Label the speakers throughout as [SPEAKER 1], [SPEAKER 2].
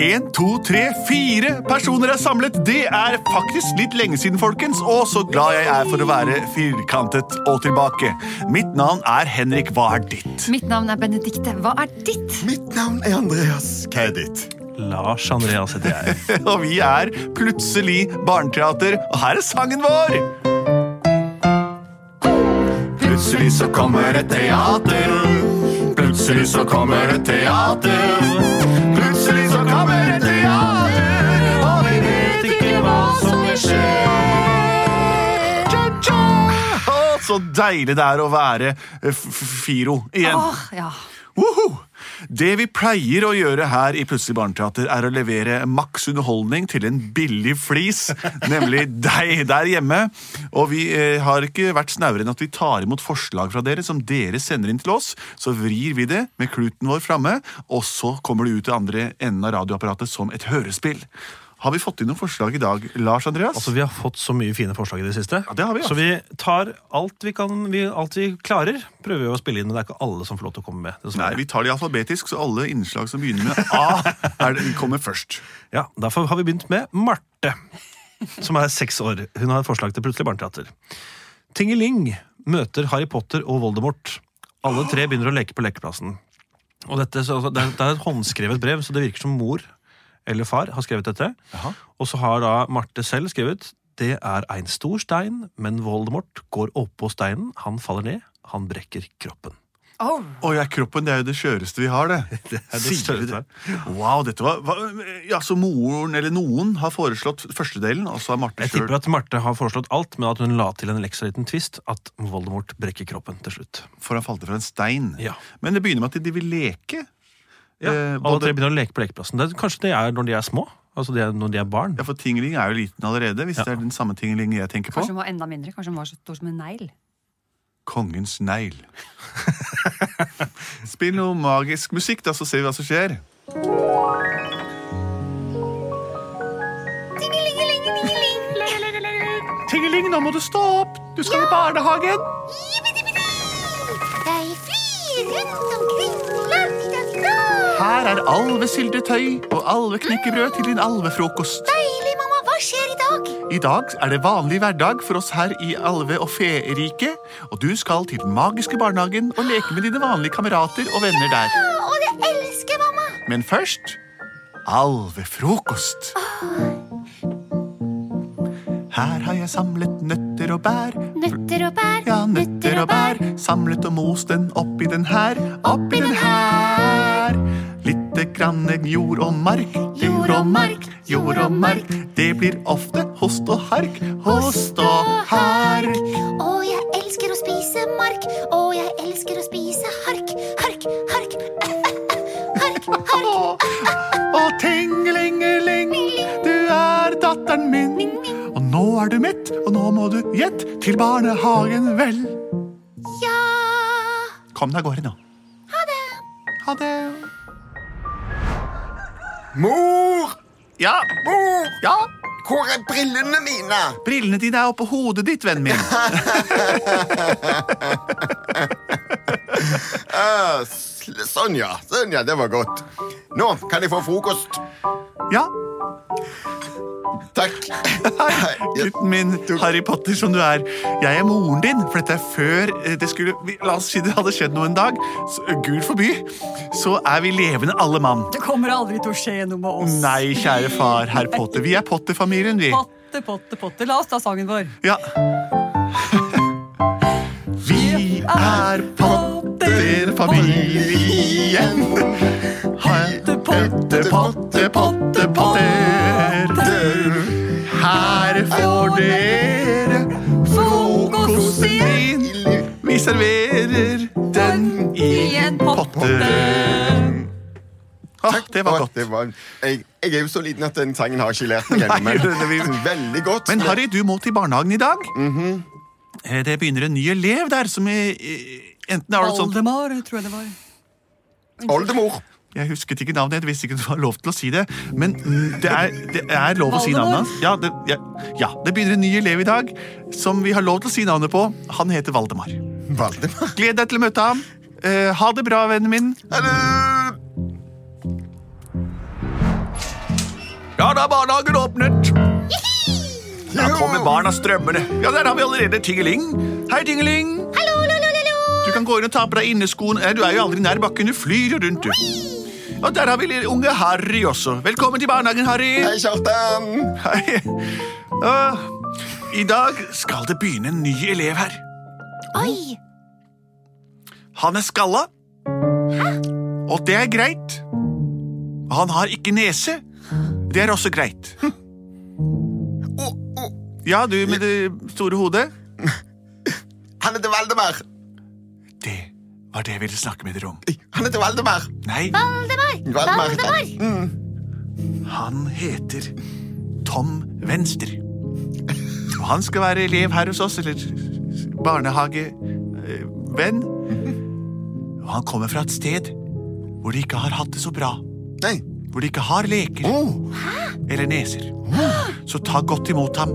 [SPEAKER 1] Én, to, tre, fire personer er samlet. Det er faktisk litt lenge siden, folkens, og så glad jeg er for å være firkantet og tilbake. Mitt navn er Henrik. Hva er ditt?
[SPEAKER 2] Mitt navn er Benedikte. Hva er ditt?
[SPEAKER 3] Mitt navn er Andreas. Hva er ditt?
[SPEAKER 4] Lars Andreas heter jeg.
[SPEAKER 1] Og vi er Plutselig barneteater, og her er sangen vår!
[SPEAKER 3] Plutselig så kommer et teater. Plutselig så kommer et teater. Plutselig så kommer et teater, og vi vet ikke hva som vil skje.
[SPEAKER 1] Å, så deilig det er å være eh, f- f- Firo igjen.
[SPEAKER 2] Åh, ja.
[SPEAKER 1] Woho! Det vi pleier å gjøre her i Plutselig barneteater, er å levere maks underholdning til en billig flis, nemlig deg der hjemme. Og vi eh, har ikke vært snauere enn at vi tar imot forslag fra dere som dere sender inn til oss. Så vrir vi det med kluten vår framme, og så kommer det ut til andre enden av radioapparatet som et hørespill. Har vi fått inn noen forslag i dag, Lars Andreas?
[SPEAKER 4] Altså, Vi har fått så mye fine forslag i det siste.
[SPEAKER 1] Ja, det har vi, ja.
[SPEAKER 4] Så vi tar alt vi, kan, vi, alt vi klarer, prøver vi å spille inn. Men det er ikke alle som får lov til å komme med.
[SPEAKER 1] Nei,
[SPEAKER 4] dessverre.
[SPEAKER 1] vi tar det alfabetisk, så alle innslag som begynner med A, er det, kommer først.
[SPEAKER 4] Ja, Derfor har vi begynt med Marte, som er seks år. Hun har et forslag til Plutselig barneteater. Tingeling møter Harry Potter og Voldemort. Alle tre begynner å leke på lekeplassen. Og dette, så, altså, det, er, det er et håndskrevet brev, så det virker som mor eller far har skrevet dette.
[SPEAKER 1] Jaha.
[SPEAKER 4] Og så har da Marte selv skrevet Det er ein stor stein, men Voldemort går oppå steinen. Han faller ned. Han brekker kroppen.
[SPEAKER 2] Oh.
[SPEAKER 1] Å ja, kroppen det er jo det skjøreste vi har, det. det,
[SPEAKER 4] er det skjøreste.
[SPEAKER 1] Wow, dette var, hva- ja, Så moren eller noen har foreslått førstedelen, og så har Marte
[SPEAKER 4] Jeg
[SPEAKER 1] sjøl
[SPEAKER 4] tipper at Marte har foreslått alt, men at hun la til en leksa liten twist at Voldemort brekker kroppen til slutt.
[SPEAKER 1] For han falt fra en stein.
[SPEAKER 4] Ja.
[SPEAKER 1] Men det begynner med at de vil leke.
[SPEAKER 4] Ja,
[SPEAKER 1] Eh,
[SPEAKER 4] Alle tre
[SPEAKER 1] både,
[SPEAKER 4] begynner å leke på lekeplassen. Det er, kanskje det er når de er små? Altså de er, når de er barn?
[SPEAKER 1] ja, for Tingeling er jo liten allerede, hvis det er den samme Tingeling jeg tenker på.
[SPEAKER 2] Kanskje den var enda mindre. Kanskje den var så stor som en negl.
[SPEAKER 1] Kongens negl. Spill noe magisk musikk, da, så ser vi hva som skjer. Tingeling, nå må du stå opp! Du skal i barnehagen!
[SPEAKER 5] Jeg flyr rundt omkring land i dag dag.
[SPEAKER 1] Her er alvesyltetøy og alveknekkebrød til din alvefrokost.
[SPEAKER 5] Deilig, mamma. Hva skjer i dag?
[SPEAKER 1] I dag er det vanlig hverdag for oss her i alve- og feriket, og du skal til den magiske barnehagen og leke med dine vanlige kamerater og venner der.
[SPEAKER 5] Å, det elsker jeg, mamma.
[SPEAKER 1] Men først alvefrokost. Her har jeg samlet nøtter og bær.
[SPEAKER 5] Nøtter og bær,
[SPEAKER 1] Ja, nøtter og bær. Samlet og most den oppi den her. Oppi den her. Litte grann jord og mark.
[SPEAKER 5] Jord og mark,
[SPEAKER 1] jord og mark. Det blir ofte host og hark. Host og hark.
[SPEAKER 5] Å, jeg elsker å spise mark. Å, jeg elsker å spise hark, hark, hark. Hark, hark.
[SPEAKER 1] Åh, åh, tingelingeling, du er datteren min. Og nå er du mett, og nå må du gjett til barnehagen, vel.
[SPEAKER 5] Ja.
[SPEAKER 1] Kom deg av gårde nå. Ha det.
[SPEAKER 3] Mor!
[SPEAKER 1] Ja,
[SPEAKER 3] Mor!
[SPEAKER 1] ja.
[SPEAKER 3] Hvor er brillene mine?
[SPEAKER 1] Brillene dine er oppå hodet ditt, vennen min.
[SPEAKER 3] Eh, sl- sånn, ja. Sånn, ja. Det var godt. Nå kan jeg få frokost.
[SPEAKER 1] Ja,
[SPEAKER 3] Takk. Ja,
[SPEAKER 1] gutten min, Harry Potter som du er. Jeg er moren din, for dette er før eh, det skulle vi- La oss si det hadde skjedd noe en dag. Så, eh, Gud forby. Så er vi levende alle mann.
[SPEAKER 2] Det kommer aldri til å skje noe med oss.
[SPEAKER 1] Nei, kjære far, herr Potter. Vi er Potter-familien, vi.
[SPEAKER 2] Potte, potte, potte. La oss ta sangen vår.
[SPEAKER 1] Ja. Vi er Potter-familien. Potte, potte, potte, potte, potter. Her får dere frokosten din. Vi serverer den i en potte. Ah, det var
[SPEAKER 3] Å,
[SPEAKER 1] godt.
[SPEAKER 3] Det var, jeg, jeg er jo så liten at den sangen har ikke lært meg ennå,
[SPEAKER 1] Nei,
[SPEAKER 3] men
[SPEAKER 1] det- det blir-
[SPEAKER 3] veldig godt.
[SPEAKER 1] Men Harry, du må til barnehagen i dag. Eh, Det begynner en ny elev der som eh, enten er det sånn
[SPEAKER 2] Valdemar, tror jeg det var.
[SPEAKER 3] Oldemor.
[SPEAKER 1] Jeg husket ikke navnet, jeg visste ikke om det var lov til å si det. Men mm, det er, det er lov å si navnet hans. Ja det, ja, ja, det begynner en ny elev i dag som vi har lov til å si navnet på. Han heter Valdemar.
[SPEAKER 3] Valdemar.
[SPEAKER 1] Gled deg til å møte ham. Eh, ha det bra, vennen min.
[SPEAKER 3] Hallo!
[SPEAKER 1] Ja, da er barnehagen åpnet. Da kommer barna strømmende. Ja, der har vi allerede Tingeling. Hei, Tingeling.
[SPEAKER 5] Hallo, hallo, hallo, hallo.
[SPEAKER 1] Du kan gå inn og ta på deg inneskoen. Eh, Du er jo aldri nær bakken. Du flyr jo rundt, du. Og der har vi lille unge Harry også. Velkommen til barnehagen, Harry.
[SPEAKER 3] Hei, Kjartan.
[SPEAKER 1] Hei. Åh, I dag skal det begynne en ny elev her.
[SPEAKER 5] Oi.
[SPEAKER 1] Han er skalla. Og det er greit. Og han har ikke nese. Det er også greit.
[SPEAKER 3] Å, å,
[SPEAKER 1] Ja, du med det store hodet.
[SPEAKER 3] Han heter Valdemar.
[SPEAKER 1] Det var det jeg ville snakke med dere om.
[SPEAKER 3] Han heter Valdemar.
[SPEAKER 1] Nei,
[SPEAKER 5] Valdemar.
[SPEAKER 3] Valdemar.
[SPEAKER 5] Valdemar.
[SPEAKER 1] han heter Tom Venstre. Og han skal være elev her hos oss, eller barnehagevenn. Og han kommer fra et sted hvor de ikke har hatt det så bra.
[SPEAKER 3] Nei.
[SPEAKER 1] hvor de ikke har leker
[SPEAKER 3] Oh.
[SPEAKER 1] eller neser. Så ta godt imot ham.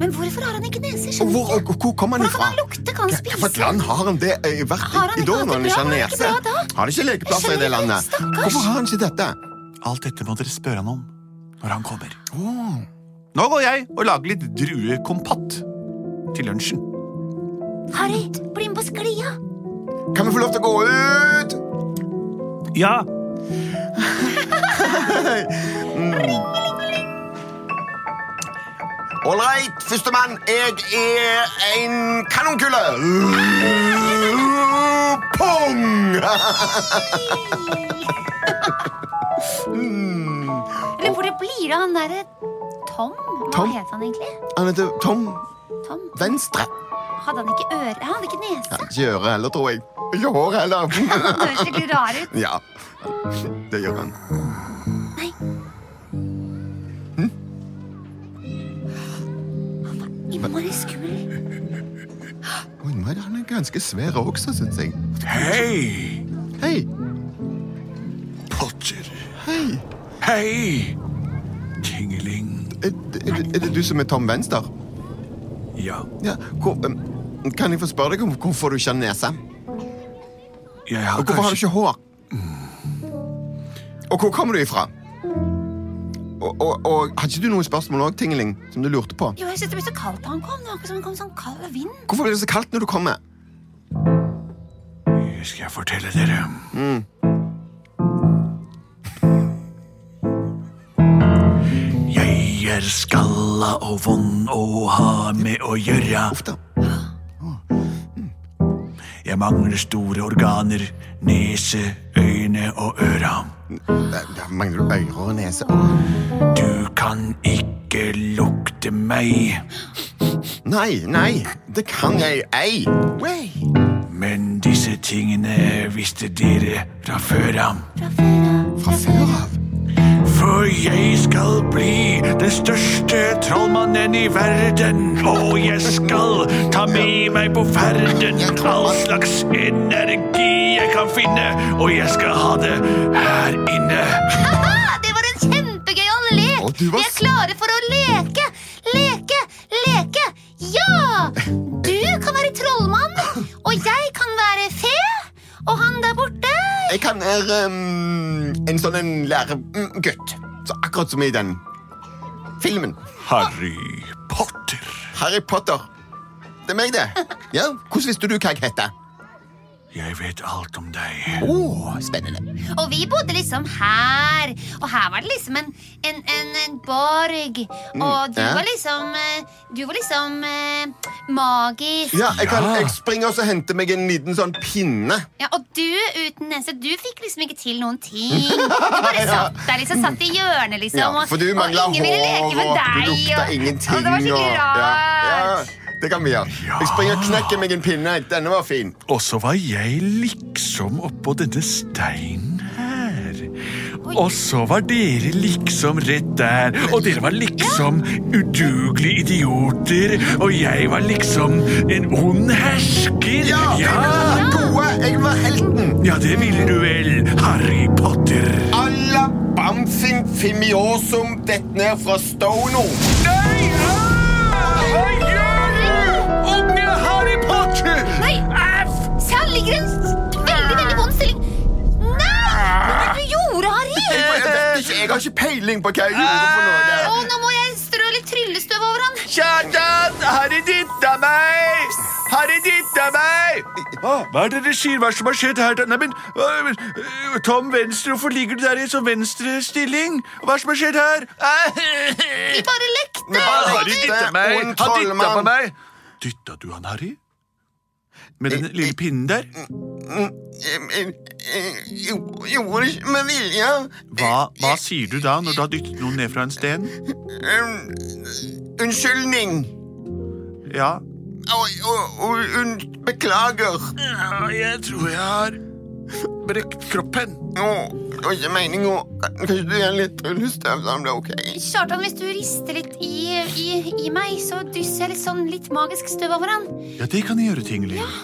[SPEAKER 5] Men hvorfor har han ikke nese?
[SPEAKER 3] Og
[SPEAKER 5] Skjønner
[SPEAKER 3] Hvor,
[SPEAKER 5] ikke.
[SPEAKER 3] og hvor kommer han
[SPEAKER 5] Hvordan
[SPEAKER 3] ifra?
[SPEAKER 5] kan han lukte? Kan han spise?
[SPEAKER 3] Hvilket land har han det eh, vært
[SPEAKER 5] Har han
[SPEAKER 3] i
[SPEAKER 5] ikke
[SPEAKER 3] da
[SPEAKER 5] hatt det
[SPEAKER 3] når han ikke har
[SPEAKER 5] bra? Var det ikke
[SPEAKER 3] nese?
[SPEAKER 5] bra da?
[SPEAKER 3] Har de ikke lekeplasser
[SPEAKER 5] Jeg
[SPEAKER 3] i
[SPEAKER 5] skjønner
[SPEAKER 3] det
[SPEAKER 5] ikke,
[SPEAKER 3] landet?
[SPEAKER 5] stakkars.
[SPEAKER 3] Hvorfor har han ikke dette?
[SPEAKER 1] Alt dette må dere spørre han om når han kommer.
[SPEAKER 3] Oh.
[SPEAKER 1] Nå går jeg og lager litt druekompott til lunsjen.
[SPEAKER 5] Harry, bli med på sklia.
[SPEAKER 3] Kan vi få lov til å gå ut?
[SPEAKER 4] Ja,
[SPEAKER 3] Ålreit, førstemann. Jeg er en kanonkule. Pong!
[SPEAKER 5] Men hvor det blir av han derre Tom? Hva
[SPEAKER 3] Tom?
[SPEAKER 5] het han egentlig?
[SPEAKER 3] Han heter Tom
[SPEAKER 5] Tom?
[SPEAKER 3] Venstre.
[SPEAKER 5] Hadde han ikke øre? Han hadde ikke nese.
[SPEAKER 3] Han har ikke øre heller, tror jeg. Ikke hår heller.
[SPEAKER 5] Han høres skikkelig rar ut.
[SPEAKER 3] ja, det gjør han.
[SPEAKER 5] Innmari skummel.
[SPEAKER 3] Oi, nå er det- han er ganske svær også, syns jeg.
[SPEAKER 1] Hei,
[SPEAKER 3] Hei,
[SPEAKER 1] Potter.
[SPEAKER 3] hei.
[SPEAKER 1] Hei, Tingeling.
[SPEAKER 3] Er, det- er, det- er det du som er Tom Venstre?
[SPEAKER 1] Ja,
[SPEAKER 3] Ja, hvor, em, kan jeg få spørre deg om hvorfor du ikke har nese?
[SPEAKER 1] jeg har
[SPEAKER 3] Og hvorfor har du ikke hår? Og hvor kommer du ifra? Og, og, og Hadde ikke du noen spørsmål òg, Tingeling, som du lurte på?
[SPEAKER 5] Jo, jeg synes det ble så kaldt da han kom. Det var akkurat som han kom sånn kald vind.
[SPEAKER 3] Hvorfor blir det så kaldt når du kommer?
[SPEAKER 1] kanskje Skal jeg fortelle dere? Jeg er skalla og vond å ha med å gjøre.
[SPEAKER 3] Uff da.
[SPEAKER 1] Jeg mangler store organer, nese, øyne og øra.
[SPEAKER 3] Der, der mangler du ører og nese. Åh.
[SPEAKER 1] Du kan ikke lukte meg,
[SPEAKER 3] Nei, nei, det kan jeg ei. Wey.
[SPEAKER 1] men disse tingene visste dere fra før av.
[SPEAKER 5] Fra før av.
[SPEAKER 3] Fra før av.
[SPEAKER 1] For jeg skal bli den største trollmannen i verden. Og jeg skal ta med meg på ferden all slags energi jeg kan finne. Og jeg skal ha det her inne.
[SPEAKER 5] Haha, det var en kjempegøyal lek!
[SPEAKER 3] Å, du var
[SPEAKER 5] Vi er
[SPEAKER 3] s-
[SPEAKER 5] klare for å leke! Leke, leke! Ja! Du kan være trollmann, og jeg kan være fe. Og han der borte
[SPEAKER 3] Jeg kan være em, en sånn en lærergutt. Så akkurat som i den filmen.
[SPEAKER 1] Harry Potter.
[SPEAKER 3] Harry Potter. Det er meg, det. Ja, Hvordan visste du hva jeg heter?
[SPEAKER 1] Jeg vet alt om deg.
[SPEAKER 3] Å, spennende.
[SPEAKER 5] Og vi bodde liksom her. Og her var det liksom en, en, en, en borg. Og du
[SPEAKER 3] Mm, ja.
[SPEAKER 5] var liksom eh, Du var liksom eh, magisk.
[SPEAKER 3] Ja, jeg, kan,
[SPEAKER 1] Ja.
[SPEAKER 3] jeg springer og så henter meg en liten sånn pinne.
[SPEAKER 5] Ja, Og du uten nese, du fikk liksom ikke til noen ting. Du bare satt der liksom, satt i hjørnet, liksom.
[SPEAKER 3] Ja,
[SPEAKER 5] og-
[SPEAKER 3] for du
[SPEAKER 5] og
[SPEAKER 3] mangla
[SPEAKER 5] ingen
[SPEAKER 3] hår,
[SPEAKER 5] ville leke med
[SPEAKER 3] og
[SPEAKER 5] deg,
[SPEAKER 3] du lukta
[SPEAKER 5] og-
[SPEAKER 3] ingenting.
[SPEAKER 5] Og det var skikkelig
[SPEAKER 3] og- Ja,
[SPEAKER 5] rart.
[SPEAKER 3] ja, det kan vi gjøre. Jeg springer og knekker meg en pinne. Denne var fin.
[SPEAKER 1] Og så var jeg liksom oppå denne steinen her. Og så var dere liksom rett der. Og dere var liksom udugelige idioter. Og jeg var liksom en ond hersker.
[SPEAKER 3] Ja! Jeg vil
[SPEAKER 1] ja.
[SPEAKER 3] være gode! Jeg vil være helten!
[SPEAKER 1] Ja, det ville du vel, Harry Potter.
[SPEAKER 3] Alla bamfim fimiosum dett ned fra stono.
[SPEAKER 1] Nei! Hva gjør du? Unge Harry Potter!
[SPEAKER 5] Nei, Se, her ligger en veldig, veldig vond stilling. Nei! Hva var det du gjorde, Harry?
[SPEAKER 3] Jeg vet ikke, jeg har ikke peiling på hva jeg gjorde for
[SPEAKER 5] Å,
[SPEAKER 3] noe.
[SPEAKER 5] nå må jeg strø litt tryllestøv over han.
[SPEAKER 1] Kjartan, har de dytta meg? Har de dytta meg? Hva er det dere sier? Hva er det som har skjedd her? Nei, men, øh, men, øh, Tom Venstre, hvorfor ligger du der i en sånn venstrestilling? Hva er det som har skjedd her?
[SPEAKER 5] Vi bare lekte.
[SPEAKER 3] Men bare-
[SPEAKER 1] Har de dytta meg? Har de
[SPEAKER 3] ond
[SPEAKER 1] dytta på
[SPEAKER 3] trollmann.
[SPEAKER 1] meg? Dytta du han, Harry? Med den lille pinnen der?
[SPEAKER 3] Mm, eh, Jeg, jeg, jeg, jeg eh, gjorde ikke med vilje. Eh,
[SPEAKER 1] Hva, hva sier du da når du har dyttet noen ned fra en sten?
[SPEAKER 3] Um, Unnskyldning.
[SPEAKER 1] Ja,
[SPEAKER 3] Og, og, og un, beklager.
[SPEAKER 1] jeg tror jeg har brekt kroppen.
[SPEAKER 3] Nå, det var ikke meningen. Kanskje du gjør litt tryllestøv, så han blir ok.
[SPEAKER 5] Kjartan, hvis du rister litt i, i, i meg, så drysser jeg litt sånn litt magisk støv over han.
[SPEAKER 1] Ja, det kan jeg gjøre, Tingling.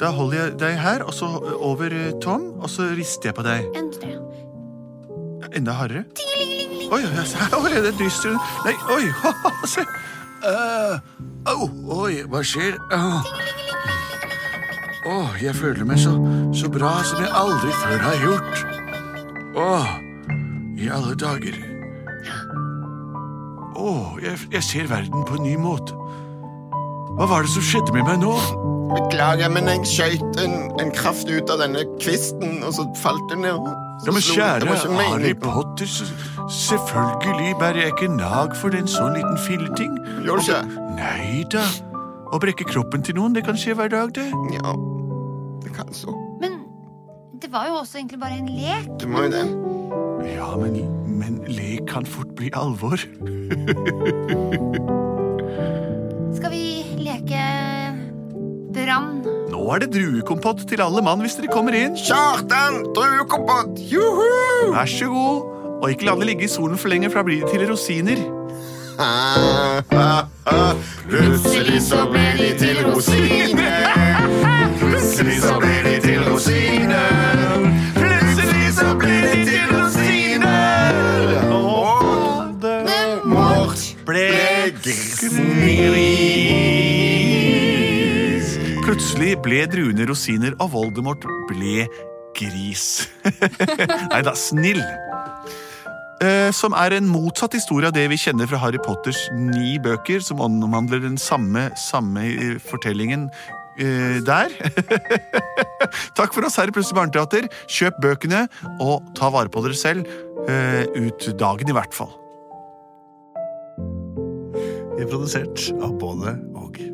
[SPEAKER 1] Da holder jeg deg her, og så over eh, Tom, og så rister jeg på deg.
[SPEAKER 5] En, tre.
[SPEAKER 1] Enda hardere. Oi, oi, oi, se- oi, det dyster Nei, oi, se. Eh, au, oi, hva skjer? Åh, Åh, jeg føler meg så, så bra som jeg aldri før har gjort. Åh, i alle dager. Åh, jeg, jeg ser verden på en ny måte. Hva var det som skjedde med meg nå?
[SPEAKER 3] Beklager, men jeg skjøt en, en kraft ut av denne kvisten, og så falt den ned.
[SPEAKER 1] Ja, men
[SPEAKER 3] Så slo- det var
[SPEAKER 1] kjære
[SPEAKER 3] ikke
[SPEAKER 1] Harry
[SPEAKER 3] meningen.
[SPEAKER 1] Potter, s- selvfølgelig bærer jeg ikke nag for en sånn liten filleting.
[SPEAKER 3] Gjør du ikke?
[SPEAKER 1] Nei da. Å brekke kroppen til noen, det kan skje hver dag, det.
[SPEAKER 3] Ja, det kan så.
[SPEAKER 5] Men det var jo også egentlig bare en lek.
[SPEAKER 3] Du må jo det.
[SPEAKER 1] Ja, men, men lek kan fort bli alvor.
[SPEAKER 5] Skal vi leke brann?
[SPEAKER 1] Nå er det druekompott til alle mann hvis dere kommer inn.
[SPEAKER 3] Kjartan, druekompott! Juhu!
[SPEAKER 1] Vær så god. Og ikke la det ligge i solen for lenge, for da blir det til rosiner.
[SPEAKER 3] Plutselig så ble de til rosiner. Plutselig så ble de til rosiner. Plutselig så ble de til rosiner. Og Voldemort
[SPEAKER 4] Ble
[SPEAKER 3] gris.
[SPEAKER 1] Plutselig ble druene rosiner, og Voldemort ble gris. Nei da, snill. Eh, Som er en motsatt historie av det vi kjenner fra Harry Potters ni bøker, som omhandler den samme, samme eh, fortellingen eh, der. Takk for oss her i Plutselig barneteater. Kjøp bøkene, og ta vare på dere selv. eh, Ut dagen, i hvert fall.
[SPEAKER 4] produsert av både og.